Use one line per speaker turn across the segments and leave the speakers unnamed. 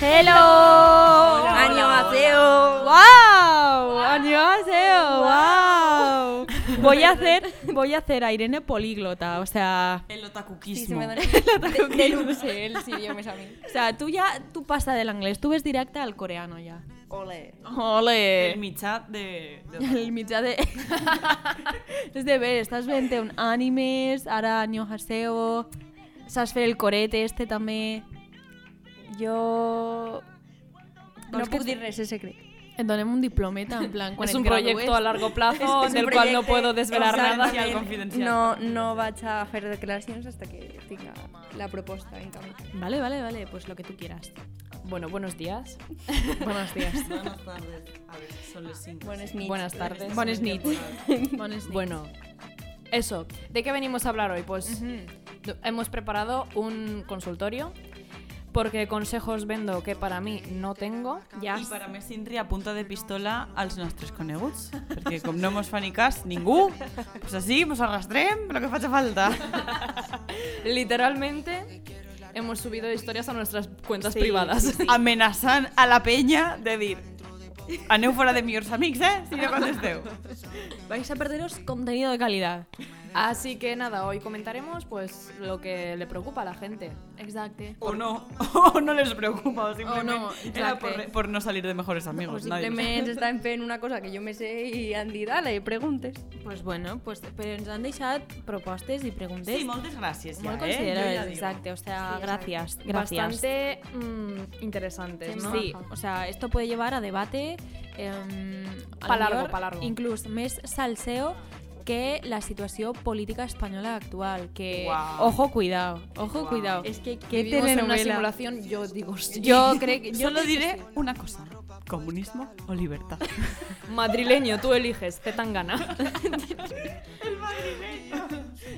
Hello.
hola,
Año Wow. Año Wow. Voy a hacer voy a hacer a Irene políglota, o sea,
El
Sí, se
otakuquismo.
me da de, deluxe el idiomas a mí.
o sea, tú ya tú pasa del inglés, tú ves directa al coreano ya.
Ole.
Ole.
el mi chat de, de otaku.
El mitjà de... és de ver, estàs veient un animes, ara Nyo Haseo, saps fer el corete este també...
Jo...
Doncs
no
què
puc
et-
dir res, és secret.
Et donem un diplometa, en plan, quan
es
et
un
gradues.
proyecto a largo
Es-
plazo
es un
del cual no
proyecto,
puedo desvelar nada.
Confidencial, confidencial.
No, no vaig a fer declaracions hasta que tinga la proposta en camí.
Vale, vale, vale, pues lo que tú quieras.
Bueno, buenos días.
Buenos días.
Buenas tardes. A ver, son las 5.
Buenas nits.
Buenas tardes.
Buenas nits. Bones
Bueno, eso. ¿De qué venimos a hablar hoy? Pues do- hemos preparado un consultorio porque consejos vendo que para mí no tengo.
Ja.
I per a més, Sintri, apunta de pistola als nostres coneguts, perquè com no mos fa ni cas ningú, pues així mos arrastrem lo que faci falta.
Literalmente hemos subido historias a nuestras cuentas privadas.
Amenaçant a la penya de dir aneu fora de millors amics, eh? Si no contesteu.
Vais a perderos contenido de calidad.
Así que nada, hoy comentaremos pues lo que le preocupa a la gente.
Exacto.
O no, o no les preocupa, o simplement
no,
era
exacte.
por, por no salir de mejores amigos. nadie lo
Simplement estan fent una cosa que jo me sé i han dit, dale, preguntes.
Pues bueno, pues, però ens han deixat propostes i preguntes
Sí, moltes gràcies.
molt
ja, eh? Jo
considerades,
ja digo.
exacte, o sea,
Sí,
gracias, gracias.
Bastante mm, interesantes, ¿no?
Sí, o sea, esto puede llevar a debate em, a
Pa
lo
largo,
millor,
pa largo.
Inclús més salseo que la situació política espanyola actual. Que,
Guau.
ojo, cuidado, ojo,
Guau.
cuidado.
Es que
¿Qué
vivimos en una
telenovela?
simulación, yo digo sí.
Yo creo que... Yo
Solo diré una cosa. Comunismo o libertad.
Madrileño, tú eliges, te tan gana.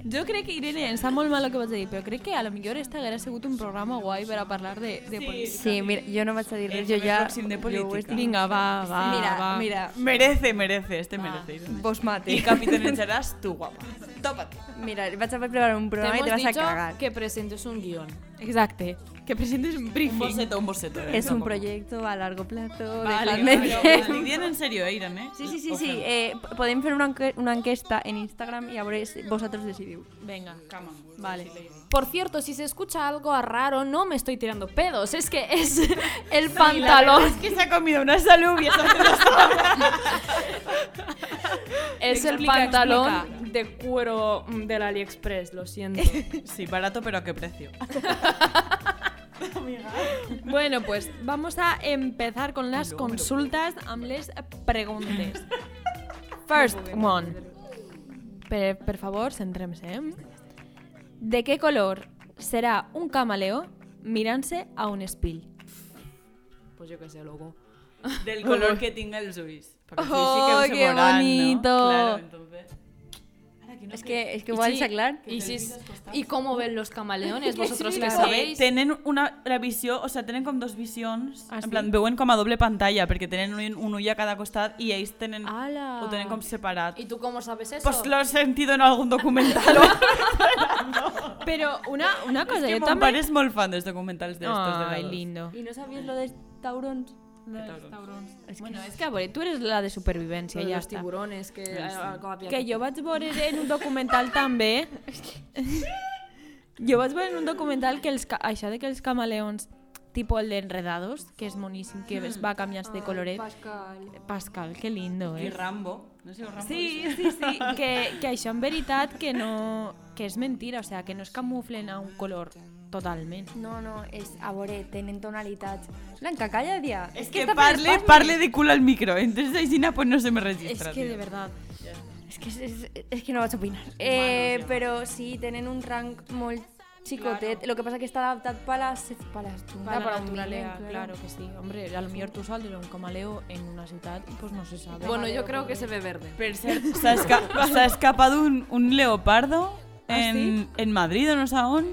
Jo crec que, Irene, em sap molt mal el que vaig dir, però crec que a lo millor este hagués sigut un programa guai per a parlar de, de política.
Sí, mira, jo no vaig a dir
El
res, jo
més
ja...
pròxim de
jo ho
política.
estic-
Vinga, va, va,
mira,
va.
mira,
Merece, merece, este merece. Irene.
vos mate.
Y capitalizarás tu guapa. Tópate.
Mira, vas a preparar un
Te
programa y te
hemos
vas a
dicho
cagar.
que presentes un guión.
Exacte. Que presentes un
Un
briefing.
boceto, un boceto. eh,
Es un
tampoco.
proyecto a largo plazo.
Vale,
dejadme
pero
que-
estic dient en serio, eh, Irene? eh?
Sí, sí, sí,
O
sí.
sea,
Eh, p- podem fer una, enque- una enquesta en Instagram i a veure si vosaltres decidiu.
Venga.
come on.
Vale.
Por cierto, si se escucha algo raro, no me estoy tirando pedos, es que es el pantalón.
Es que se ha comido una salubia. eso te lo sabe.
Es el
Explica,
pantalón
explica.
de cuero mm, del AliExpress, lo siento.
sí, barato, pero a qué precio.
Bueno, pues vamos a empezar con las
Luego me lo-
consultas, amb les preguntes. First one. Per, per favor, centrem-se. eh? De què color serà un camaleó mirant-se a un espill?
Pues yo qué sé, loco.
Del color que tenga el Suiz. Porque el Suiz
Oh,
sí que
qué
es morán, ¿no?
bonito.
Claro, entonces. Ahora que no
És
te-
que, és que ho vaig aclarar.
Y, si es- ¿Y cómo ven los camaleones? ¿Vosotros qué
Claro.
sabéis?
Tenen una, la visió, o sea, tenen com dos visions,
Ah,
en
sí?
plan, veuen com a doble pantalla, perquè tenen un, un ull a cada costat i ells tenen,
Ala.
ho tenen com separat.
¿Y tú cómo sabes eso?
Pues lo he sentido en algún documental.
Però una, una cosa,
que
jo
mon
també...
pare és molt fan dels documentals d'estos de
Ai,
dados.
lindo.
I no sabies lo de taurons?
Bueno, és que a veure, tu eres la de supervivència,
Lo de
ja
los
està.
tiburones que...
Que jo vaig veure en un documental també... jo vaig veure en un documental que els, ca- això de que els camaleons, tipo el d'Enredados, que és moníssim, que es va canviar de coloret. Pascal, que lindo,
I
eh?
Rambo. No sé, Rambo.
Sí, sí, sí, que, que això en veritat que no... que és mentira, o sea, que no es camuflen a un color totalment.
No, no, és a veure, tenen tonalitats. Blanca, calla, dia.
És que, parle, parle de culo al micro. Entonces, Aisina, pues no se me
És
registra.
que
tio.
de verdad...
És que, és, és, és que no vaig opinar. Eh, però sí, tenen un rang molt xicotet. Lo que passa que està adaptat per la, per la,
Para la naturaleza, claro que sí. Hombre, a lo mejor tú sales un camaleo en una ciudad y pues no se sabe.
Bueno, yo creo que se ve verde.
Per cert, s'ha esca s'ha escapado un, un leopardo
¿Ah,
en, en Madrid o no sé on.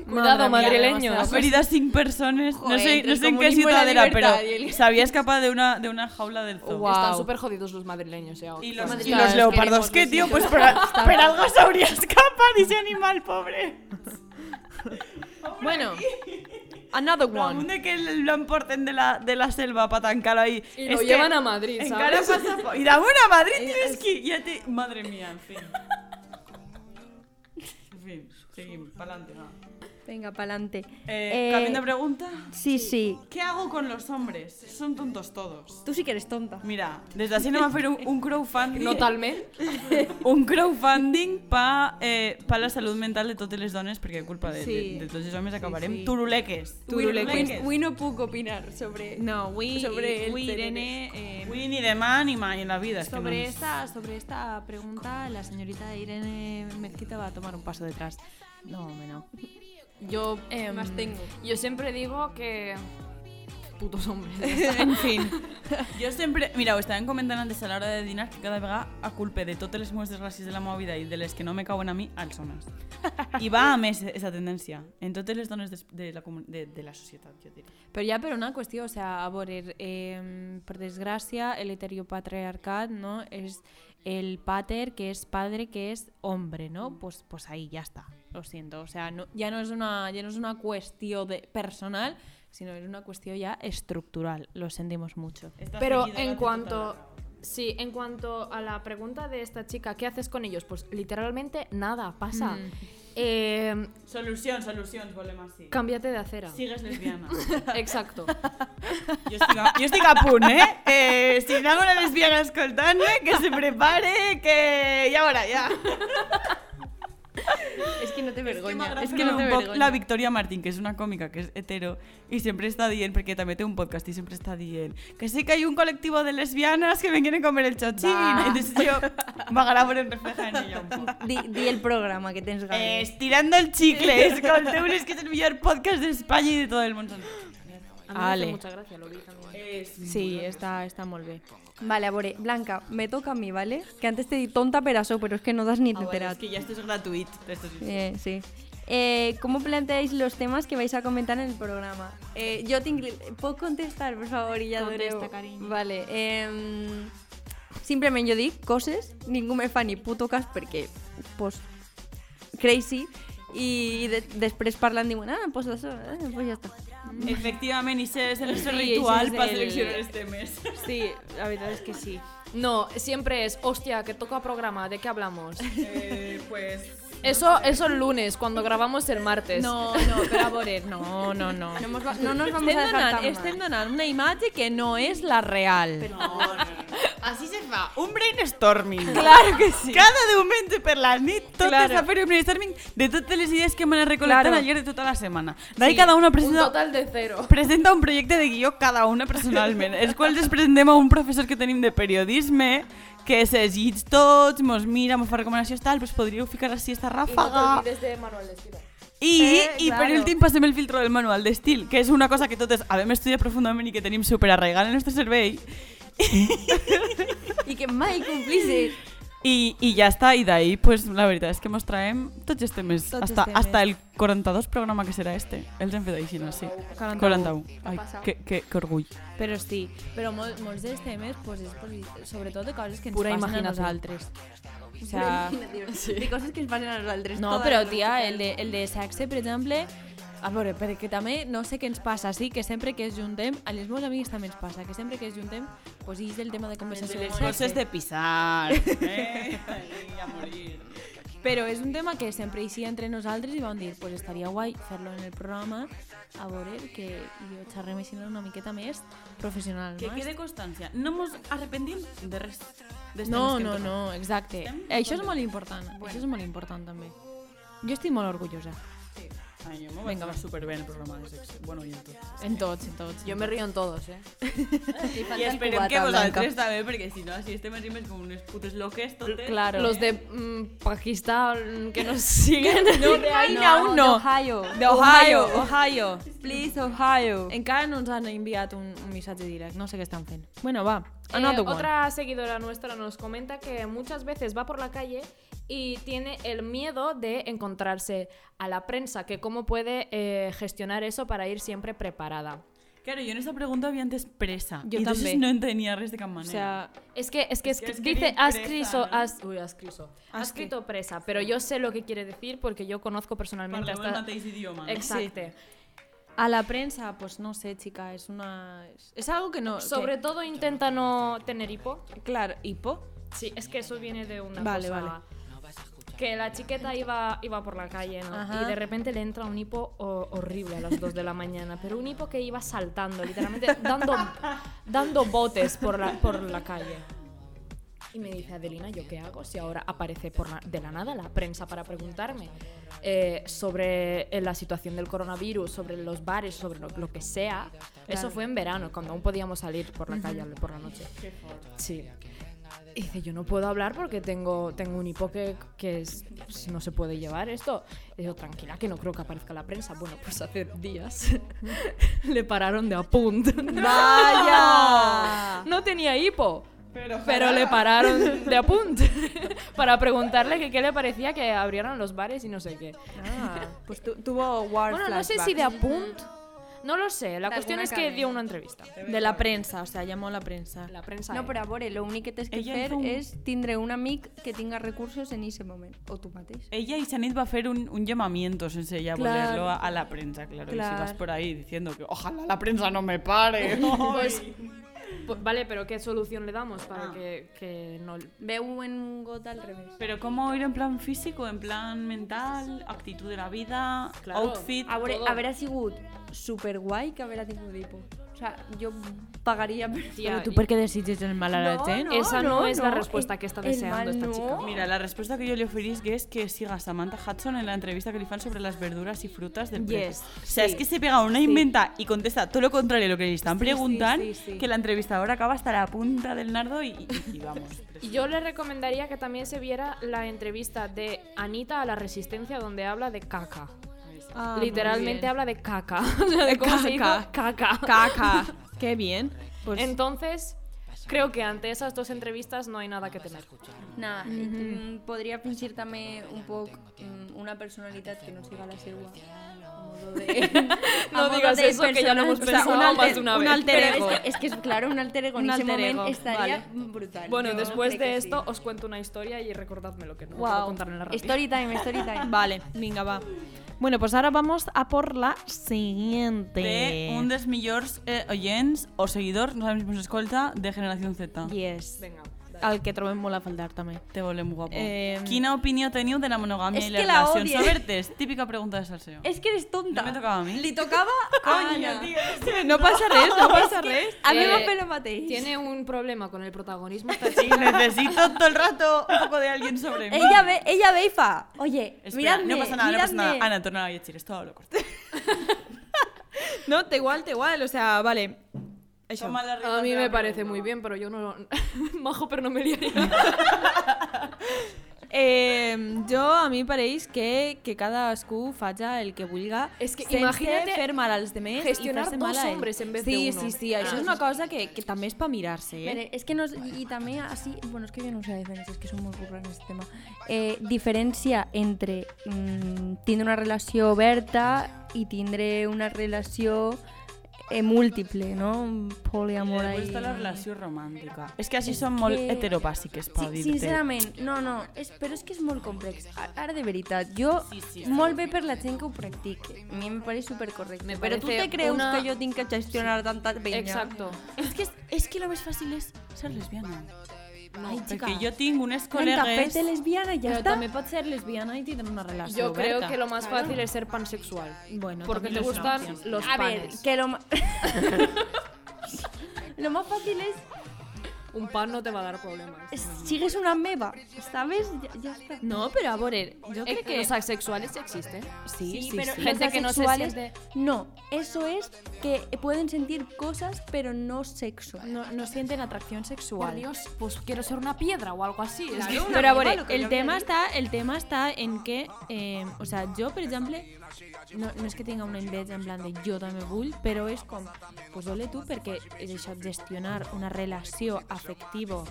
Madre mía,
Cuidado, madrileños.
Ha
demasiado.
perdido a cinco personas. no
pues Joder,
sé,
entre
no
el
sé en qué
comunismo y la
ciudad era, pero
libertad y el-
se había escapado de una, de una jaula del zoo.
Guau.
Están
Wow.
súper jodidos los madrileños, eh, ya.
Y los,
Madrid-
y los
Claro,
leopardos,
queremos
¿qué, tío? Pues
besitos.
por, por algo se habría escapado ese animal, pobre.
Bueno, Another
No, un
one.
de que lo emporten de la, de la selva para tancar ahí.
Y lo llevan a Madrid,
En cara
¿sabes?
pasa- Y da una Madrid tienes que... Ya te... Madre mía, en fin. En fin, seguimos, pa'lante. va.
Venga, pa'lante.
Eh,
Eh,
cambiando pregunta.
Sí, sí.
¿Qué hago con los hombres? Son tontos todos.
Tú sí que eres tonta.
Mira, desde así no me hacer un, un crowdfunding.
No talment.
un crowdfunding para eh, pa la salud mental de todos los dones, porque culpa de,
Sí.
de, de tots els homes acabarem
sí.
turuleques.
Turuleques.
Turuleques.
Uy, no puedo opinar sobre...
No, we,
Sobre el
we,
tener
Irene, eh,
Uy, ni de más ni más en la vida. es que
Sobre
no.
esta, sobre esta pregunta, la señorita Irene Mezquita va a tomar un paso detrás. No, hombre, no.
Yo, em,
Más tengo.
yo siempre digo que. Putos hombres.
en fin. Jo sempre... Mira, ho estàvem comentant antes a l'hora de dinar que cada vegada a culpa de totes les meves desgràcies de la meva vida i de les que no me cauen a mi, els homes. I va a més aquesta tendència en totes les dones de, de, la, comu- de, de la societat, jo diria.
Però ja per una qüestió, o sea, a veure, eh, per desgràcia, el heteropatriarcat, no?, és el pater que és padre que és hombre, no? Pues, pues ahí ya está, lo siento. O sea, no, ya, no es una, ya no es una cuestión de personal, sino es una cuestión ya estructural. Lo sentimos mucho.
Estàs
Pero
seguida, tota
en
vas
cuanto.
total.
Sí, en cuanto a la pregunta de esta chica, ¿qué haces con ellos? Pues literalmente nada, pasa.
Mm.
Eh,
Solucions, solucions, volem així.
cámbiate de acera.
Sigues lesbiana.
Exacto.
Jo estic, a, jo estic a punt, eh? eh si hi ha una lesbiana escoltant-me, que se prepare, que ja veurà, ja.
Es que no te vergonya.
És que no un poc la Victoria Martín, que és una còmica, que és hetero, i sempre està dient, perquè també té un podcast i sempre està dient que sí que hay un colectivo de lesbianas que me quieren comer el chochín.
Va.
Entonces yo m'agrada veure un refleja en ella un poc.
Di, di el programa que tens ganes.
Eh, estirando el chicle, escolteu és que és el millor podcast d'Espanya i de tot el món.
A mí me hace
Ale.
mucha gracia, lo vi también.
Sí, está, está molt bé.
Vale, Abore, Blanca, me toca a mí, ¿vale? Que antes te di tonta perazo, pero es que no das ni te
és
enteras.
que ja esto Ah, es gratuït. Esto es...
Eh, sí. Eh, ¿Cómo planteáis los temas que vais a comentar en el programa? Eh, yo te inclin- ¿Puedo contestar, por favor? Y ya
Contesta,
adoreu?
cariño.
Vale. em, simplement jo dic coses, ningú me fa ni puto cas perquè, pues, crazy, i de després parlant diuen, ah, pues això, eh, pues ja està.
Efectivament, i és el nostre
Sí,
ritual
ese és
per
el-
seleccionar este els temes.
Sí, la verdad es que sí.
No, siempre es, hostia, que toca programa, ¿de qué hablamos?
Eh, pues...
Eso, eso el lunes, cuando grabamos el martes.
No, no, pero a veure, no, no, no.
No, mos va- no nos vamos
Estem
a dejar
donant,
tan
estem
mal.
donant una imatge que no és la real.
No, no, no. Així se fa. Un brainstorming.
Claro que sí.
Cada diumenge per la nit totes
Claro.
a fer un brainstorming de totes les idees que m'han recolectat
Claro.
ayer de tota la setmana. D'ahí cada una
Un
presenta,
total de cero.
presenta un projecte de guió cada una personalment, els quals els presentem a un professor que tenim de periodisme que se'ls llits tots, mos mira, mos fa recomanacions tal, pues podríeu ficar així esta ràfaga.
de Manuel Esquiva.
I,
Eh,
i per
claro.
últim passem el filtro del manual d'estil, que és una cosa que totes havem estudiat profundament i que tenim super arraigada en el nostre cervell.
I que mai complissis.
I, i ja està, i d'ahí, pues, la veritat és que mos traem tots els temes.
Tots este els
hasta,
temes.
hasta el 42 programa que serà este. Els hem fet així, no? Sí.
41.
41. Ai, que, que, que orgull.
Però sí, però mol, molts dels temes pues, és posi- sobretot de coses que ens
Pura
Pura passen a
imaginació.
nosaltres. O sea,
De coses que ens passen a nosaltres.
no,
toda
però
la
tia,
vida.
el de, el de sexe, per exemple, a veure, perquè també no sé què ens passa, sí, que sempre que es juntem, a les meves amigues també ens passa, que sempre que es juntem, pues, és el este. tema de conversació. amb sexe.
pisar. Eh? a morir.
Però és un tema que sempre hi sigui entre nosaltres i vam dir, pues estaria guai fer-lo en el programa, a veure que jo xerrem així una miqueta més professional.
Que
no?
quede constància. No mos arrepentim de res. Dels
No,
temes que hem
no,
tocat.
no, exacte.
Estem
Això és
contentes.
molt important, això és molt important també. Jo estic molt orgullosa.
Ai, jo m'ho
Vinga,
vaig
va.
veure superbé en el programa de sexe. Bueno, i en tot.
En tots, en tots.
Yo me río en todos, ¿eh?
I esperem que vosaltres també, perquè si no, si este estem així més com unes putes loques totes.
Claro.
Los de mm, Pakistán que nos siguen.
No, de ahí no,
de
no.
Ohio.
De Ohio, Ohio.
Please, Ohio.
Encara no ens han enviat un, un missatge directe, no sé què estan fent. Bueno, va,
Eh,
another one.
otra seguidora nuestra nos comenta que muchas veces va por la calle y tiene el miedo de encontrarse a la prensa, que cómo puede eh, gestionar eso para ir siempre preparada.
Claro, yo en esta pregunta había antes presa.
Jo
y entonces
també.
no entendía res de cap
O
manera.
sea,
Es que, es que,
Es que
escri-
es que
dice,
eres
has
presa,
criso,
¿no?
has, uy, has criso, has
que-
escrito presa, pero yo sé lo que quiere decir porque yo conozco personalmente
Parlem
a
el
esta-
mateix idioma. no?
Exacte.
A la prensa, pues no sé, chica, es una. Es, es algo que no. que-
Sobre todo intenta no tener hipo.
Claro, hipo.
Sí, es que eso viene de una
Vale,
cosa...
vale.
Que la chiqueta iba, iba por la calle, ¿no?
Ajá.
Y de repente le entra un hipo ho- horrible a las 2 de la mañana. Pero un hipo que iba saltando, literalmente dando, dando botes por la, por la calle. Y me dice, Adelina, ¿yo qué hago si ahora aparece por la- de la nada la prensa para preguntarme eh, sobre eh, la situación del coronavirus, sobre los bares, sobre lo, lo que sea? Eso fue en verano, cuando aún podíamos salir por la calle por la noche. Sí. Y dice, yo no puedo hablar porque tengo, tengo un hipo que, que es- pues, no se puede llevar esto. Y digo, tranquila, que no creo que aparezca la prensa. Bueno, pues hace días le pararon de apunt.
¡Vaya!
No tenía hipo,
Pero,
pero le pararon de apunt para preguntarle que qué le parecía que abrieran los bares y no sé qué.
Pues tu- tuvo war
Bueno, no sé si de apunt, no lo sé. La
De
cuestión
alguna
es que
cadena.
dio una entrevista.
De la prensa, o sea, llamó a la prensa.
La prensa.
No,
eh.
però a veure, l'únic que tens que
Ella
fer
fa un-
és tindre un amic que tinga recursos en aquest moment, o tu mateix.
Ella y Sanit va a hacer un, un llamamiento, sense ya
Claro.
volverlo a, a la prensa, claro. Y si
Claro.
vas por ahí diciendo que ojalá la prensa no me pare.
Pues, pues vale, pero ¿qué solución le damos
Ah.
para que, que no...
Veu en un got al revés.
Pero ¿cómo ir en plan físico, en plan mental, actitud de la vida,
Claro.
outfit?
A veure,
Todo.
haver sigut superguai que haver tingut hipo. O sea, jo pagaria per...
Tía,
qué desitges el mal
no. esa es la respuesta que está
el-
deseando
el
esta
mal
chica.
Mira, la respuesta que yo le oferís que es que siga a Samantha Hudson en la entrevista que le fan sobre las verduras y frutas del
Yes.
país. O sea, es que se pega una inventa y contesta todo lo contrario a lo que le están
Sí, sí,
preguntando,
sí, sí.
que la entrevistadora acaba hasta la punta del nardo y, y- y vamos.
Y yo le recomendaría que también se viera la entrevista de Anita a la Resistencia donde habla de caca. Ah, Literalmente habla de caca. O sea, de
De
cómo se dice
caca.
caca.
Caca. Qué bien. Pues
Entonces, creo que ante esas dos entrevistas no hay nada que temer.
Nah, mm, podria fingir també un poc mm, una personalitat que no siga la seva. A modo de-
No
a modo
digas
de
eso, que ya lo hemos
personal- un
pensado más
alter-
de una
un
vez.
alter
Pero
ego.
es
Es que, es claro, un alter ego
Un
en ese
alter
momento
ego,
estaría
vale.
brutal.
Bueno,
Yo
después
crec que
de esto
sí.
os cuento una historia y recordadme lo que no puedo
Guau.
contar en la radio.
Story time, story time.
Vale, venga, va. Bueno, pues ahora vamos a por la siguiente.
De
Este,
un dels millors eh, oients o seguidors, no sabem si mos escolta, de Generació Z.
Yes.
Venga.
Al que trobem molt a faltar també.
Te volem guapo.
Eh,
Quina opinió teniu de la monogàmia
és
i les
Em, que la
relacions
odie.
obertes? Típica pregunta de salseo.
Es que eres tonta.
No me tocaba a mí.
Le tocaba
Ah,
a Ana.
No passa res, no passa res.
A mí
Eh,
me lo matéis.
Tiene un problema con el protagonismo esta
Sí, necesito todo el rato un poco de alguien sobre mí.
Ella ve, ella ve y fa. Oye,
Espera,
miradme,
no pasa nada, no pasa
miradme.
nada. Ana, torna a llegir, esto lo corto.
No, te igual, te igual, o sea, vale. Això.
Toma la rienda
A mí
de la
me parece
pregunta.
muy bien, pero yo no... Majo, pero no me liaría.
Eh, jo, a mi pareix que, que cadascú faja el que vulga
És que
sense
imagina't
fer mal als demés
gestionar
i fer-se
dos
mal a ell.
hombres en vez de
sí,
uno.
Sí, sí, això
Ah.
és una cosa que, que també és per mirar-se, eh?
Mire, es que nos. Y también así. Bueno, es que yo no sé la diferencia, es que son muy burros en este tema. Eh, diferencia entre mm, tindre una relación oberta y tindre una relación eh, múltiple, ¿no?
I
Poliamor
després
ahí.
està la relació romàntica. És que així són molt
que-
heteropàssiques, per
Sí,
dir-te.
sincerament, no, no, és, però és que és molt complex. A- Ara, de veritat, jo, sí,
Sí, sí,
sí,
sí.
molt bé per la gent que ho practiqui. A mi em pareix supercorrecte.
Me
però tu
parece
te creus
una-
que jo tinc que gestionar tanta penya?
Exacto.
És que, és que lo més fàcil és ser lesbiana.
Ay, chica.
Perquè jo tinc unes
Trenca,
col·legues...
fet lesbiana, ja
Però
està.
també pots ser lesbiana i tindre una relació
Yo creo
oberta.
que lo más fácil es ser pansexual.
Bueno,
porque
también
te
es una
gustan
opción.
los
A ver,
panes.
que lo... ma- lo más fácil es
Un pan no te va a dar problemas.
es- sigues una meba, ¿sabes? Ya, ya está.
No, pero a veure, jo
Eh,
crec que...
Los asexuales sí existen.
sí, sí, sí.
Gente
los
que no se
asexuales,
siente-
No, eso es que pueden sentir cosas, pero no sexo.
No, no sienten atracción
Por
sexual.
Dios, pues quiero ser una piedra o algo así. Es que-
Pero a veure, el tema està, el tema està en que, eh, o sea, jo, per exemple, no, no és que tinga una enveja en plan de jo també vull, però és com, pues ole tu, perquè és això, gestionar una relació afectivo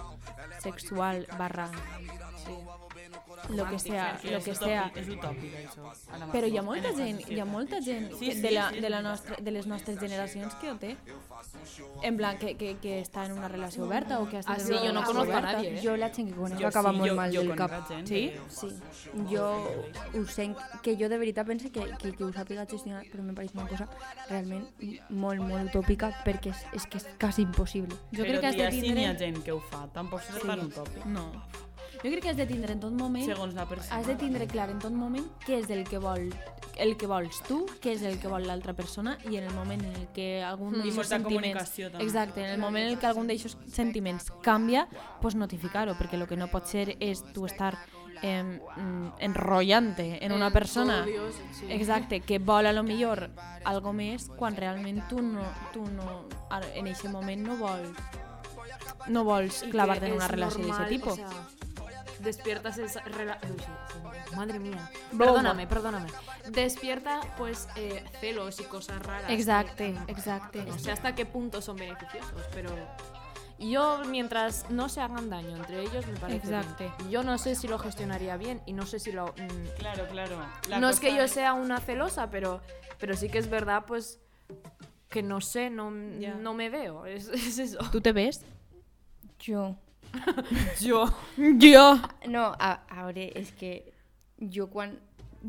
sexual barra sí, lo que sea,
Sí,
lo
és
que
utòpic,
sea.
És utòpic, això. A la
Però hi ha
màxima.
molta gent, hi ha molta gent
Sí,
que-
sí,
de, la,
sí, és
de, la
veritat.
nostra, de les nostres generacions que ho té. En plan, que, que, que està en una relació oberta o que ha estat
Ah,
en
sí,
una
yo no
relació
conozco a
oberta.
nadie, eh?
Jo la gent que conec
Jo
acaba
sí,
molt
jo-
mal
jo
del
conec
cap.
gent
Sí?
que-
Sí, jo ho sent, que jo de veritat pense que, que, que ho sàpiga gestionar, però em pareix una cosa realment molt, molt utòpica, perquè és, és que és quasi impossible.
Jo
Però,
crec que has de
tia, sí, n'hi ha
tindre...
gent que ho fa, tampoc serà tan utòpic.
No. Jo crec que has de tindre en tot moment...
Segons la persona.
Has de tindre clar en tot moment què és el que vol el que vols tu, què és el que vol l'altra persona i en el moment en el que algun
Mm. I
d'aquests
molta
sentiments...
comunicació, també.
Exacte, en el moment en el que algun d'aquests sentiments canvia, pues notificar-ho, perquè el que no pot ser és tu estar em, mm, enrotllant-te en una persona exacte, que vol a lo millor algo més quan realment tu no, tu no ara, en aquest moment no vols no vols clavar-te en una relació d'aquest tipus.
despiertas esa rela- Uy, sí, sí. Madre mía.
Broma.
Perdóname, perdóname. Despierta pues eh, celos y cosas raras.
exacte, exacte.
No sé hasta qué punto son beneficiosos, pero
Yo, mientras no se hagan daño entre ellos, me parece bien.
Exacto.
Yo no sé si lo gestionaría bien y no sé si lo... mm,
Claro, claro. La
no es
cosa
que yo sea una celosa, pero, pero sí que es verdad, pues, que no sé, no,
Ya.
no me veo. Es, es eso.
¿Tú te ves?
Jo...
Jo.
Yo.
No, a, a veure, és que jo quan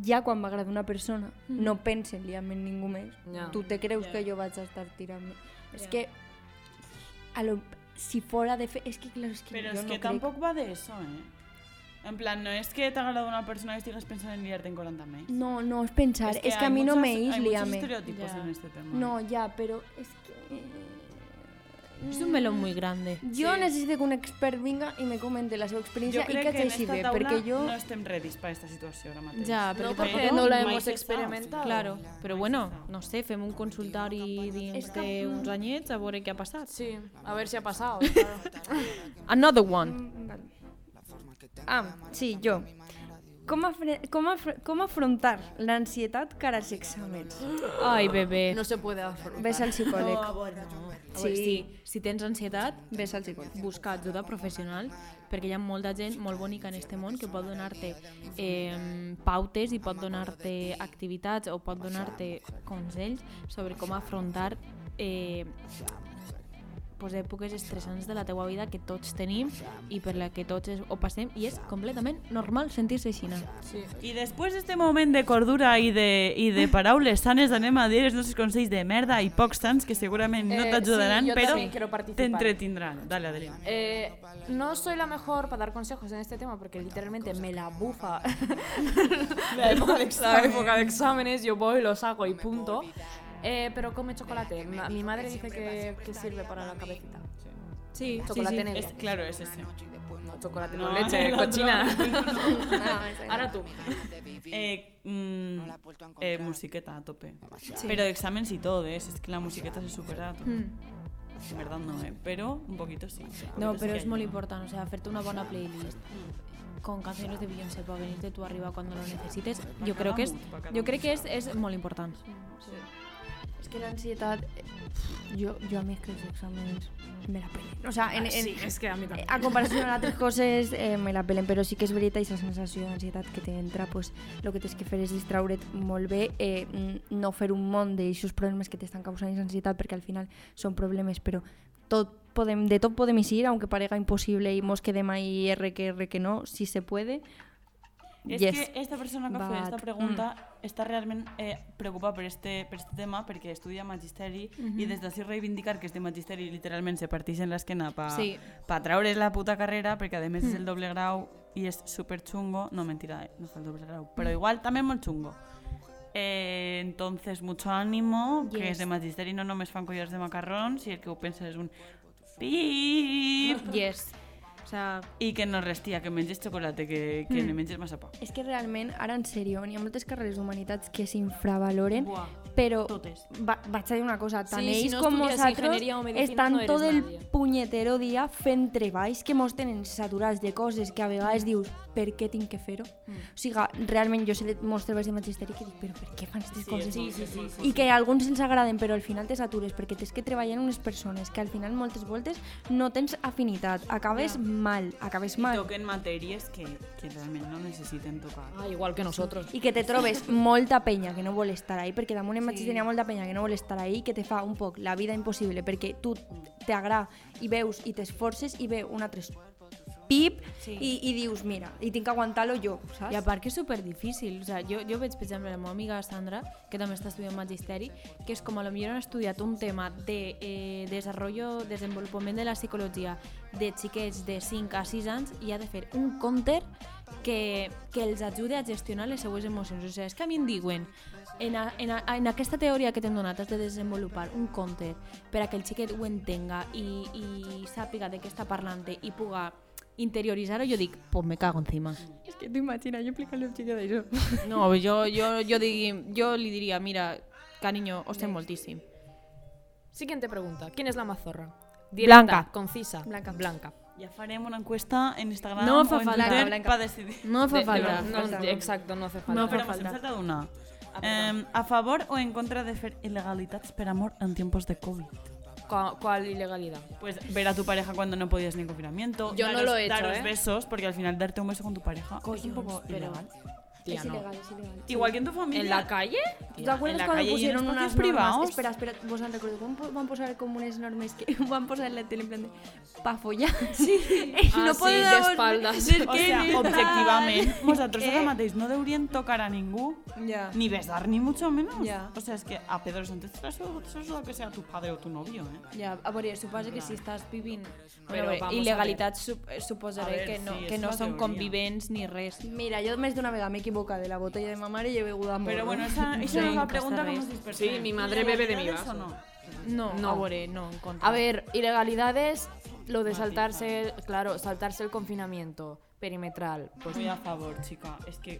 ja quan m'agrada una persona no pense liam en ningú més.
Ja.
Tu te creus
Ja.
que jo vaig a estar tirant... És que a lo, si fora de fer... És que clar, és que
Però
jo
és
no
que
crec...
tampoc va d'això, eh? En plan, no és que t'agrada una persona que estigues pensant en liar-te en 40 mails.
No, no, és pensar, és que, a
hay
mi no
muchas-
me ix
Hay muchos
liame.
estereotipos
Ya.
en este tema.
No, ja, però és que... eh,
Es un melón muy grande.
Jo necessito que un expert vinga i me comente la seva
Jo
experiència i
crec
que
que en
així
esta
bé,
taula
perquè jo...
no estem redis per aquesta situació ara mateix.
Ya, pero
No,
que
porque
tampoco-
no la
mai
hemos
se sap,
experimentado.
Claro, pero bueno, no sé, fem un consultari dins de uns anyets a veure què ha passat.
Sí, a ver si ha pasado. claro.
Another one.
Mm, Ah, sí, jo. Com, afre com, afre com afrontar l'ansietat cara als exàmens?
Ai, bebé.
No se puede afrontar.
Ves al psicòleg.
A veure, sí, si tens ansietat,
Ves al psicòleg.
busca ajuda professional perquè hi ha molta gent molt bonica en este món que pot donar-te eh, pautes i pot donar-te activitats o pot donar-te consells sobre com afrontar eh, pues, èpoques estressants de la teua vida que tots tenim i per la que tots es- ho passem i és completament normal sentir-se així.
I després d'este moment de cordura i de, i de paraules sanes anem a dir els nostres consells de merda i pocs sants que segurament no
Eh,
t'ajudaran,
sí, jo també quiero
però
participar.
t'entretindran. Dale, Adrián.
Eh, no soy la mejor para dar consejos en este tema porque literalmente me la bufa la época de exámenes. Yo voy, los hago y punto. Eh, pero come chocolate. Ma- mi madre dice que, que sirve para la cabecita.
Sí,
Chocolate negro.
Es, claro, es ese.
No, chocolate
No,
con leche,
el otro.
cochina. Ahora tú.
Eh, mm, eh, musiqueta a tope. Pero de exámenes y todo, ¿eh? es que la musiqueta se supera a tope. En verdad no, ¿eh? pero un poquito sí.
No,
Entonces
pero
sí
es
ayuda.
muy importante, o sea, hacerte una buena playlist con canciones de Beyoncé para venirte tú arriba cuando lo necesites. Yo creo que es, yo creo que es, es muy importante.
És que l'ansietat... eh, Jo, jo a mi és que els exàmens me la pelen. O sea, en, en,
sí, es que a mí también.
a comparació amb altres coses eh, me la pelen, però sí que és veritat aquesta sensació d'ansietat que t'entra, pues, el que tens que fer és distraure't molt bé, eh, mm, no fer un món d'aixos problemes que t'estan causant ansietat, perquè al final són problemes, però tot podem, de tot podem eixir, aunque parega impossible i mos quedem ahí R que R que no, si se puede.
És
yes.
que eh, esta persona que ha
But- mm.
fet aquesta pregunta està realment eh, preocupada per este, per este tema perquè estudia magisteri i des d'ací reivindicar que este magisteri literalment se parteix en l'esquena pa,
Sí.
pa traure's la puta carrera perquè a més és el
Mm.
doble grau i és super xungo, no mentira, eh, no fa el doble grau, però igual també molt xungo. Eh, entonces, mucho ánimo, que els de magisteri no només fan collars de macarrons i el que ho pensa és un pip
Yes. O sea,
i que no restia, que menges xocolate, que, que mm. ne menges massa poc.
És que realment, ara en sèrio, hi ha moltes carreres d'humanitats que s'infravaloren
Buah.
Pero
Totes.
va, vaig a dir una cosa, tant
Sí, si
ells
no
com
estudies
vosaltres
ingenieria o medicina,
estan
no eres
tot el
nadie.
punyetero dia fent treballs que mos tenen saturats de coses que a
Mm.
vegades dius, per què tinc que fer-ho? O sigui, realment jo sé de molts treballs de magisteri que dic, però per què fan aquestes coses?
Sí, sí, sí.
I que a alguns ens agraden, però al final te satures, perquè tens que treballar en unes persones que al final moltes voltes no tens afinitat, acabes mal, acabes
I
mal.
toquen matèries que, que realment no necessiten tocar.
Ah, igual que nosotros.
I que te trobes molta penya que no vol estar ahí, perquè damunt en magisteri hi ha molta penya que no vol estar ahí, que te fa un poc la vida impossible, perquè tu t'agrada i veus i t'esforces i ve un altre pip i, i dius, mira, i tinc que aguantar-lo jo, saps?
I a part que és super difícil. O sea, jo, jo veig, per exemple, la meva amiga Sandra, que també està estudiant magisteri, que és com a lo millor han estudiat un tema de eh, desenvolupament, desenvolupament de la psicologia de xiquets de 5 a 6 anys i ha de fer un counter que, que els ajude a gestionar les seues emocions. O sigui, és que a mi em diuen en, a, en, a, en aquesta teoria que t'hem donat has de desenvolupar un counter per a que el xiquet ho entenga i, i sàpiga de què està parlant i puga interioritzar-ho, jo dic, pues me cago encima.
és que t'ho imagina, jo explicar-li a un xiquet d'això.
No, jo, jo, jo, digui, jo li diria, mira, cariño, os té moltíssim.
Siguiente pregunta. ¿Quién es la mazorra?
Blanca.
concisa.
Blanca.
Blanca.
Ja farem una encuesta en Instagram
No fa
o en
falta.
Twitter
Blanca.
per decidir.
No fa
De- de-
falta.
no,
falta.
exacto, no hace falta.
No,
Però
fa
ens hem
falta.
saltat una. Eh, a favor o en contra de fer il·legalitats per amor en tiempos de Covid?
¿Cuál, cuál ilegalidad?
Pues ver a tu pareja cuando no podías ni en confinamiento.
Yo no
daros-
lo he hecho,
Daros
¿eh?
besos, porque al final darte un beso con tu pareja es un poco ilegal.
Tía,
és
no.
il·legal, és il·legal.
Igual que en tu familia.
¿En la calle?
¿Tú te acuerdas
la
cuando
calle y en
pusieron
espacios
unas
privados?
normas? Espera, espera, vos han recordado, ¿cómo po- van a posar como unas normas que van a posar en la tele en plan de pa follar? Sí.
Ah, sí, de espaldas.
Des
O
que
sea,
ni tal.
objetivament, vosaltres
Què?
ara mateix no deurien tocar a ningú,
Ja.
ni besar, ni mucho menos.
Ya.
O sea, es que a Pedro Sánchez Traso, eso es lo que sea tu padre o tu novio, ¿eh?
Ja, a veure, suposa que si estàs vivint
Però
però bé,
vamos a
il·legalitats sup eh, suposaré
A ver,
que no,
sí,
que
és
no
una
són
teoria.
convivents ni res.
Mira, yo más de una vega me he equivocado de la botella de mamar y yo he bebido amor.
Pero bueno,
es...
pues esa, esa
Sí,
no es la
no
pregunta
pasa
que nos
res.
dispersamos.
Sí, mi madre bebe de mi
¿Ilegales o
vaso.
no?
No,
No.
no. a veure, no, en contra.
A ver, ilegalidades, lo de saltarse, el- claro, saltarse el confinamiento perimetral. Pues
Muy a favor, chica. Es que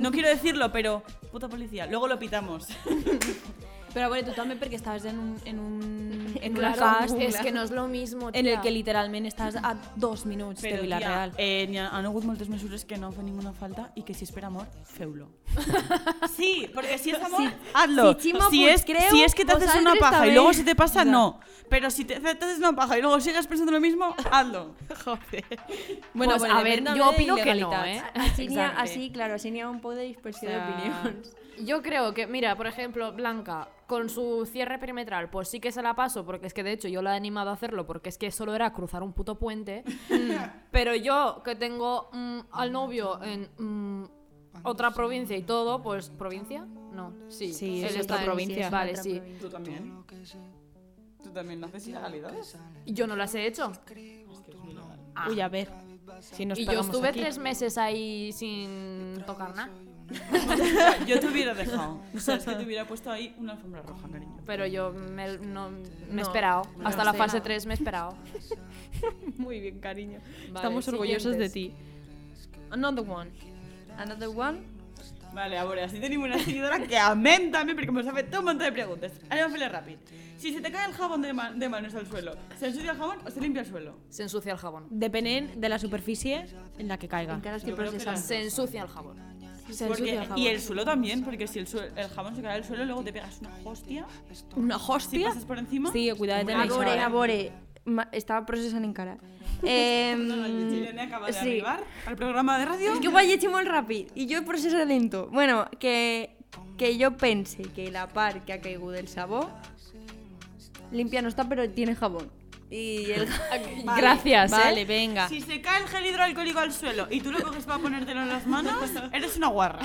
no quiero decirlo, pero puta policía. Luego lo pitamos.
Però a veure, tu també perquè estàs en un, en un, en un
claro,
cas
es que no es lo mismo.
en el
tía.
que literalment estàs a dos minuts
Pero
de
tía,
Vilareal.
eh, n'hi ha, han hagut moltes mesures que no fan ninguna falta y que si es per amor, feu-lo. Sí, porque si es amor, hazlo.
si Chimo
si,
Puig
es,
creu,
si es que te haces una
vosaltres
paja y
també.
luego se te pasa, no. Pero si te, te haces una paja y luego sigues pensando lo mismo, hazlo. Joder.
Bueno,
Pues,
bueno,
a ver,
depèn
yo
de
opino que no, ¿eh?
il·legalitats.
Así, ni a-
Exacte.
así, claro, así ni a un poco de dispersión
O sea,
de opiniones.
Yo creo que, mira, por ejemplo, Blanca, con su cierre perimetral, pues sí que se la paso, porque es que de hecho yo la he animado a hacerlo, porque es que solo era cruzar un puto puente. Mm, Pero yo, que tengo mm, al novio en mm,
Ah,
otra provincia y todo, pues, ¿provincia? No, sí.
Sí, es
él está
otra
en-
provincia.
Vale,
Otra
sí.
provincia.
¿Tú también? ¿Tú también haces ilegalidades?
Yo no las he hecho.
Uy, a ver, si nos
y yo
pegamos
estuve
aquí.
tres meses ahí sin tocar nada.
Yo te hubiera dejado. O sea, es que te hubiera puesto ahí una alfombra roja, cariño.
Pero yo me, no- me he
No,
esperado.
no
Hasta la
sé.
fase 3 me he esperado.
Muy bien, cariño.
Estamos
Estamos
orgullosos
orgullosos de ti. Another one.
Another one.
Vale, ahora sí tenemos una seguidora que amén también, porque me sabe todo un montón de preguntas. Ahora vamos a hacerle rápido. Si se te cae el jabón de, ma- de manos al suelo, ¿se ensucia el jabón o se limpia el suelo?
Se ensucia el jabón.
Depenent de la superfície en la que caiga.
Encara
Yo
estic
creo que
processant.
Se ensucia el jabón.
Se
Porque-
ensucia el
y
jabón.
el suelo también, porque si el, sue- el jabón se cae al suelo, luego te pegas una hostia.
Una
Si
hostia.
pasas por encima.
Sí, cuidado de
A
tener
veure, a
això, eh?
veure, ma- estava processant encara. Eh,
Perdona, Irene acaba de
sí.
arribar al programa de radio.
És que ho vaig llegir molt ràpid i jo processa lento. Bueno, que, que jo pense que la part que ha caigut del sabó limpia no està, però tiene jabón. I el...
Gracias, ¿eh?
Vale, venga.
Si se cae el gel hidroalcohólico al suelo y tú lo coges para ponértelo en las manos, eres una guarra.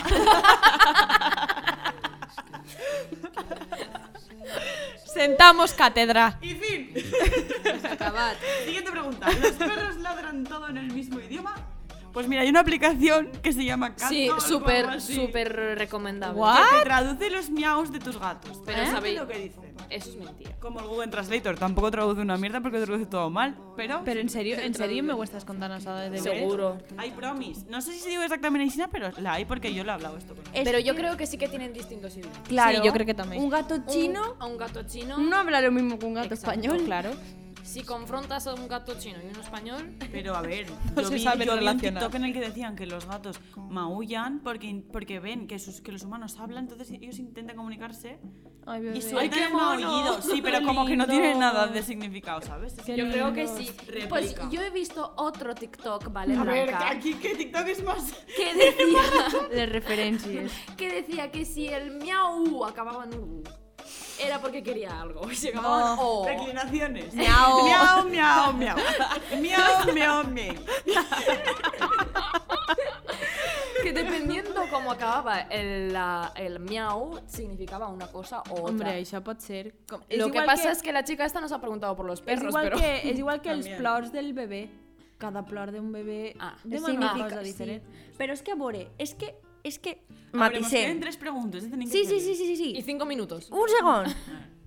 Sentamos cátedra.
Y fin.
acabat.
Siguiente pregunta. ¿Los perros ladran todo en el mismo idioma? Pues mira, hay una aplicación que se llama Cat
Sí,
Call o algo
súper,
así,
súper recomendable.
que te traduce los miaus de tus gatos.
Pero
Traduce
sabéis-
lo que dicen.
Eso es mentira.
Como el Google Translator, tampoco traduce una mierda porque traduce todo mal, pero...
Pero en serio, en serio me gustas contarnos a de
Seguro.
Hay promis. No sé si se digo exactamente Isina, pero la hay porque yo lo he hablado esto. con-
Es
Pero
que,
yo creo que sí que tienen distintos idiomas.
claro,
Sí, yo creo que también.
Un gato chino
Un- a un gato chino.
no habla lo mismo que un gato
Exacto,
español.
Claro.
Si confrontas a un gato chino y uno español,
Pero a ver,
No
yo
se
vi,
saben
yo vi un
relacionar.
TikTok en el que decían que los gatos maullan porque, porque ven que, sus, que los humanos hablan, entonces ellos intentan comunicarse
Ay, bebé.
y sueltan
qué
el
mono!
maullido. Sí, pero
¡Qué
como que no tiene
lindo!
nada de significado, ¿sabes? Es
Qué
que-
yo creo que
lindo.
sí.
Replica.
Pues yo he visto otro TikTok, ¿vale?
A ver, que
Blanca?
aquí que TikTok es más...
que decía,
Las referencias.
que decía que si el miau acababa en u, era porque quería algo. Y se acababa en o.
Reclinaciones. Miau. Miau, miau, miau. Miau, miau, miau.
Que dependiendo cómo acababa el, la- el miau, significaba una cosa u otra.
Hombre, això pot ser... Com...
Lo
és
que
igual
pasa es que la chica esta nos ha preguntado por los
És
perros,
igual,
pero...
que, és igual que els
També.
plors del bebè. Cada plor d'un bebè
Ah,
demana una
significa-
cosa
sí.
diferent.
Pero es que, Bore, es que, es que...
en
Matisem.
pues tres preguntes. eh, tenim que
Sí, sí,
fer-ho.
sí, sí, sí.
Y cinco minutos.
Un segon.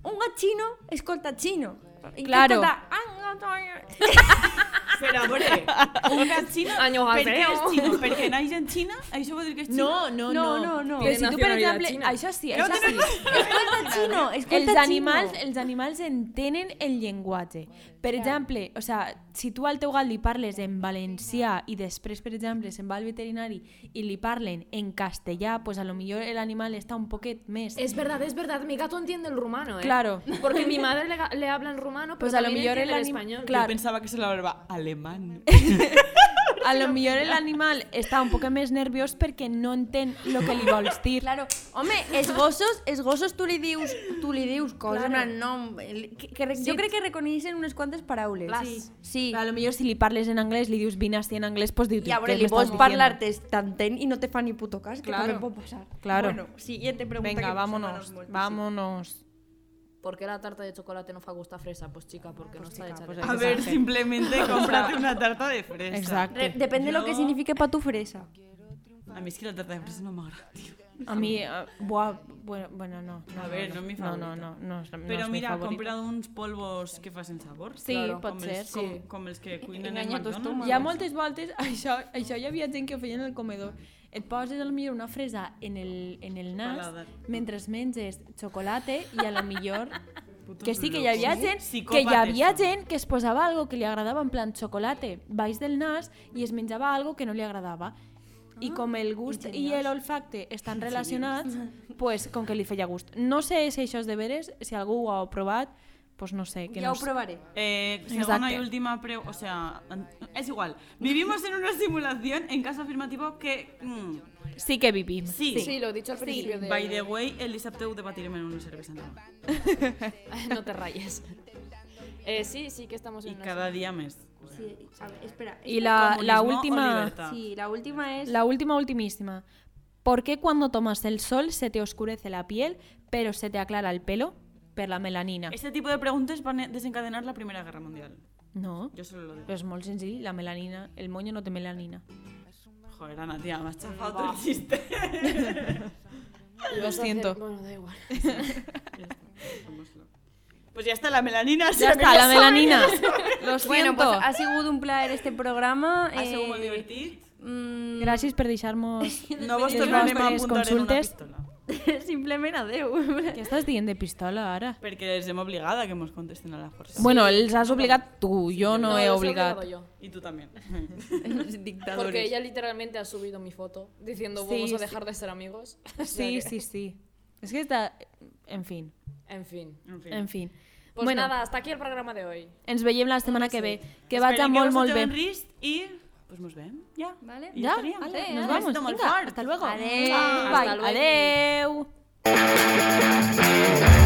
Un gat xino escolta xino. I
Claro.
escolta, "Ah, no, no, no".
Però, a veure, un gat xino...
Año
per què
gaseo.
és xino? Perquè naix en Xina? Això vol dir que és xino?
No, no, no.
No, no, no.
Però si tu, per
Nacionalitat
exemple...
xina.
Això sí,
No
això sí.
tenen-
Escolta xino, escolta
Els
xino.
animals, els animals entenen el llenguatge. Per exemple, o sea, si tu al teu gat li parles en valencià i després, per exemple, se'n va al veterinari i li parlen en castellà, pues a lo millor l'animal està un poquet més.
Es verdad, es verdad. Mi gato entiende el rumano, ¿eh?
Claro.
Porque mi madre le, ga- le habla en rumano, pero
Pues a lo
también
mejor el
entiende el,
anim-
español.
claro.
Jo pensava que se la hablava alemán.
A lo millor l'animal està un poquet més nerviós perquè no entén el que li vols dir.
Claro, home, els gossos, els gossos tu li dius, tu li dius coses, claro. nom, el- que, que, sí. jo crec que reconeixen unes quantes paraules.
Las.
Sí. sí.
A lo millor si li parles en anglès, li dius vine així en anglès, pues diu
I a veure, li vols parlar-te tantent i no te fa ni puto cas, que
Claro.
també pot passar.
Claro.
Bueno, siguiente pregunta
Venga,
que nos
vámonos,
amamos molt.
vámonos.
¿Por qué la tarta de chocolate no fa gusta fresa? Pues chica, porque no está hecha
pues
de
hay
A
Exacte.
ver, simplemente cómprate una tarta de fresa.
Exacte.
Re- Depèn de lo que
Jo-
signifique pa tu fresa.
A mí es que la tarta de fresa no me agrada, tío.
A mí, eh, buah, bueno, bueno, no. no,
A ver, no es mi favorita.
No, no, no, no, es- no
Pero
es mi
mira, he
favorita.
comprado unos polvos que hacen sabor.
Sí,
Claro.
pot ser.
els, com, com els que cuinen en
Enganya tu
McDonald's.
Hi ha moltes voltes, això, això hi havia gent que ho feia en el comedor. Et poses a lo millor una fresa en el, en el nas
Paladar.
mentre menges xocolata i a lo millor...
Putos
Que sí, que hi havia
locos.
gent, que hi
Psicòpates
havia
són.
gent que es posava algo que li agradava en plan xocolata baix del nas i es menjava algo que no li agradava.
Ah,
I com el gust i l'olfacte estan relacionats, pues, com que li feia gust. No sé si això és de veres, si algú ho ha provat, pues no sé. Que
Ja
no
ho
sé.
provaré.
Eh, segunda
Exacte.
y última pre- O sea, an- es igual. Vivimos en una simulación en caso afirmativo que. mm,
Sí que vivim.
sí.
Sí, lo he dicho al principio de...
By the way, el dissabte ho debatirem en una cervesa nova.
no te rayes. Eh, sí, sí que estamos en
I
una
cada dia més.
Sí, a ver, espera.
Y la, la
Comunismo o
última...
libertad.
Sí, la última es...
La última, ultimísima. ¿Por qué cuando tomas el sol se te oscurece la piel, pero se te aclara el pelo? Per la melanina.
Este tipo de preguntas van a desencadenar la Primera Guerra Mundial.
No,
Yo solo lo digo.
pero es muy sencillo, la melanina, el moño no te melanina.
Joder, Ana, tía, me has chafado todo el chiste.
Lo
Vas a hacer-
siento.
Bueno, da igual.
Pues ya está la melanina.
Ya está, la melanina. Lo siento.
Bueno, pues ah. ha sigut un plaer este programa.
Ha sigut
eh,
molt divertit.
mm,
Gracias por deixar-nos
No vos
les
tornarem a
vostres
apuntar en una
consultes.
pistola.
Simplement mm, adeu.
¿Qué estás diciendo de pistola ahora?
Perquè els hem obligada que mos contesten a la força.
Bueno, els has obligat tú, yo no, he
los
obligado.
obligado yo.
I tu també.
Dictadores.
Porque ella literalmente ha subido mi foto diciendo
Sí,
vamos a
sí.
dejar de ser amigos.
Sí, sí, sí. Es que está... En fin,
En fin.
En fi.
en fin.
Pues
bueno,
nada, hasta aquí el programa de hoy.
ens veiem la semana que ve. Que
Esperem
vagi molt,
vos
molt bé.
ajudeu en Rist i... Pues mos veiem. Ja.
Vale.
I
Ya,
estaríem.
vale,
Sí,
nos
eh.
vamos.
Besito molt
Venga,
fort.
hasta luego.
Adeu.
Bye.
Hasta luego.
Adeu.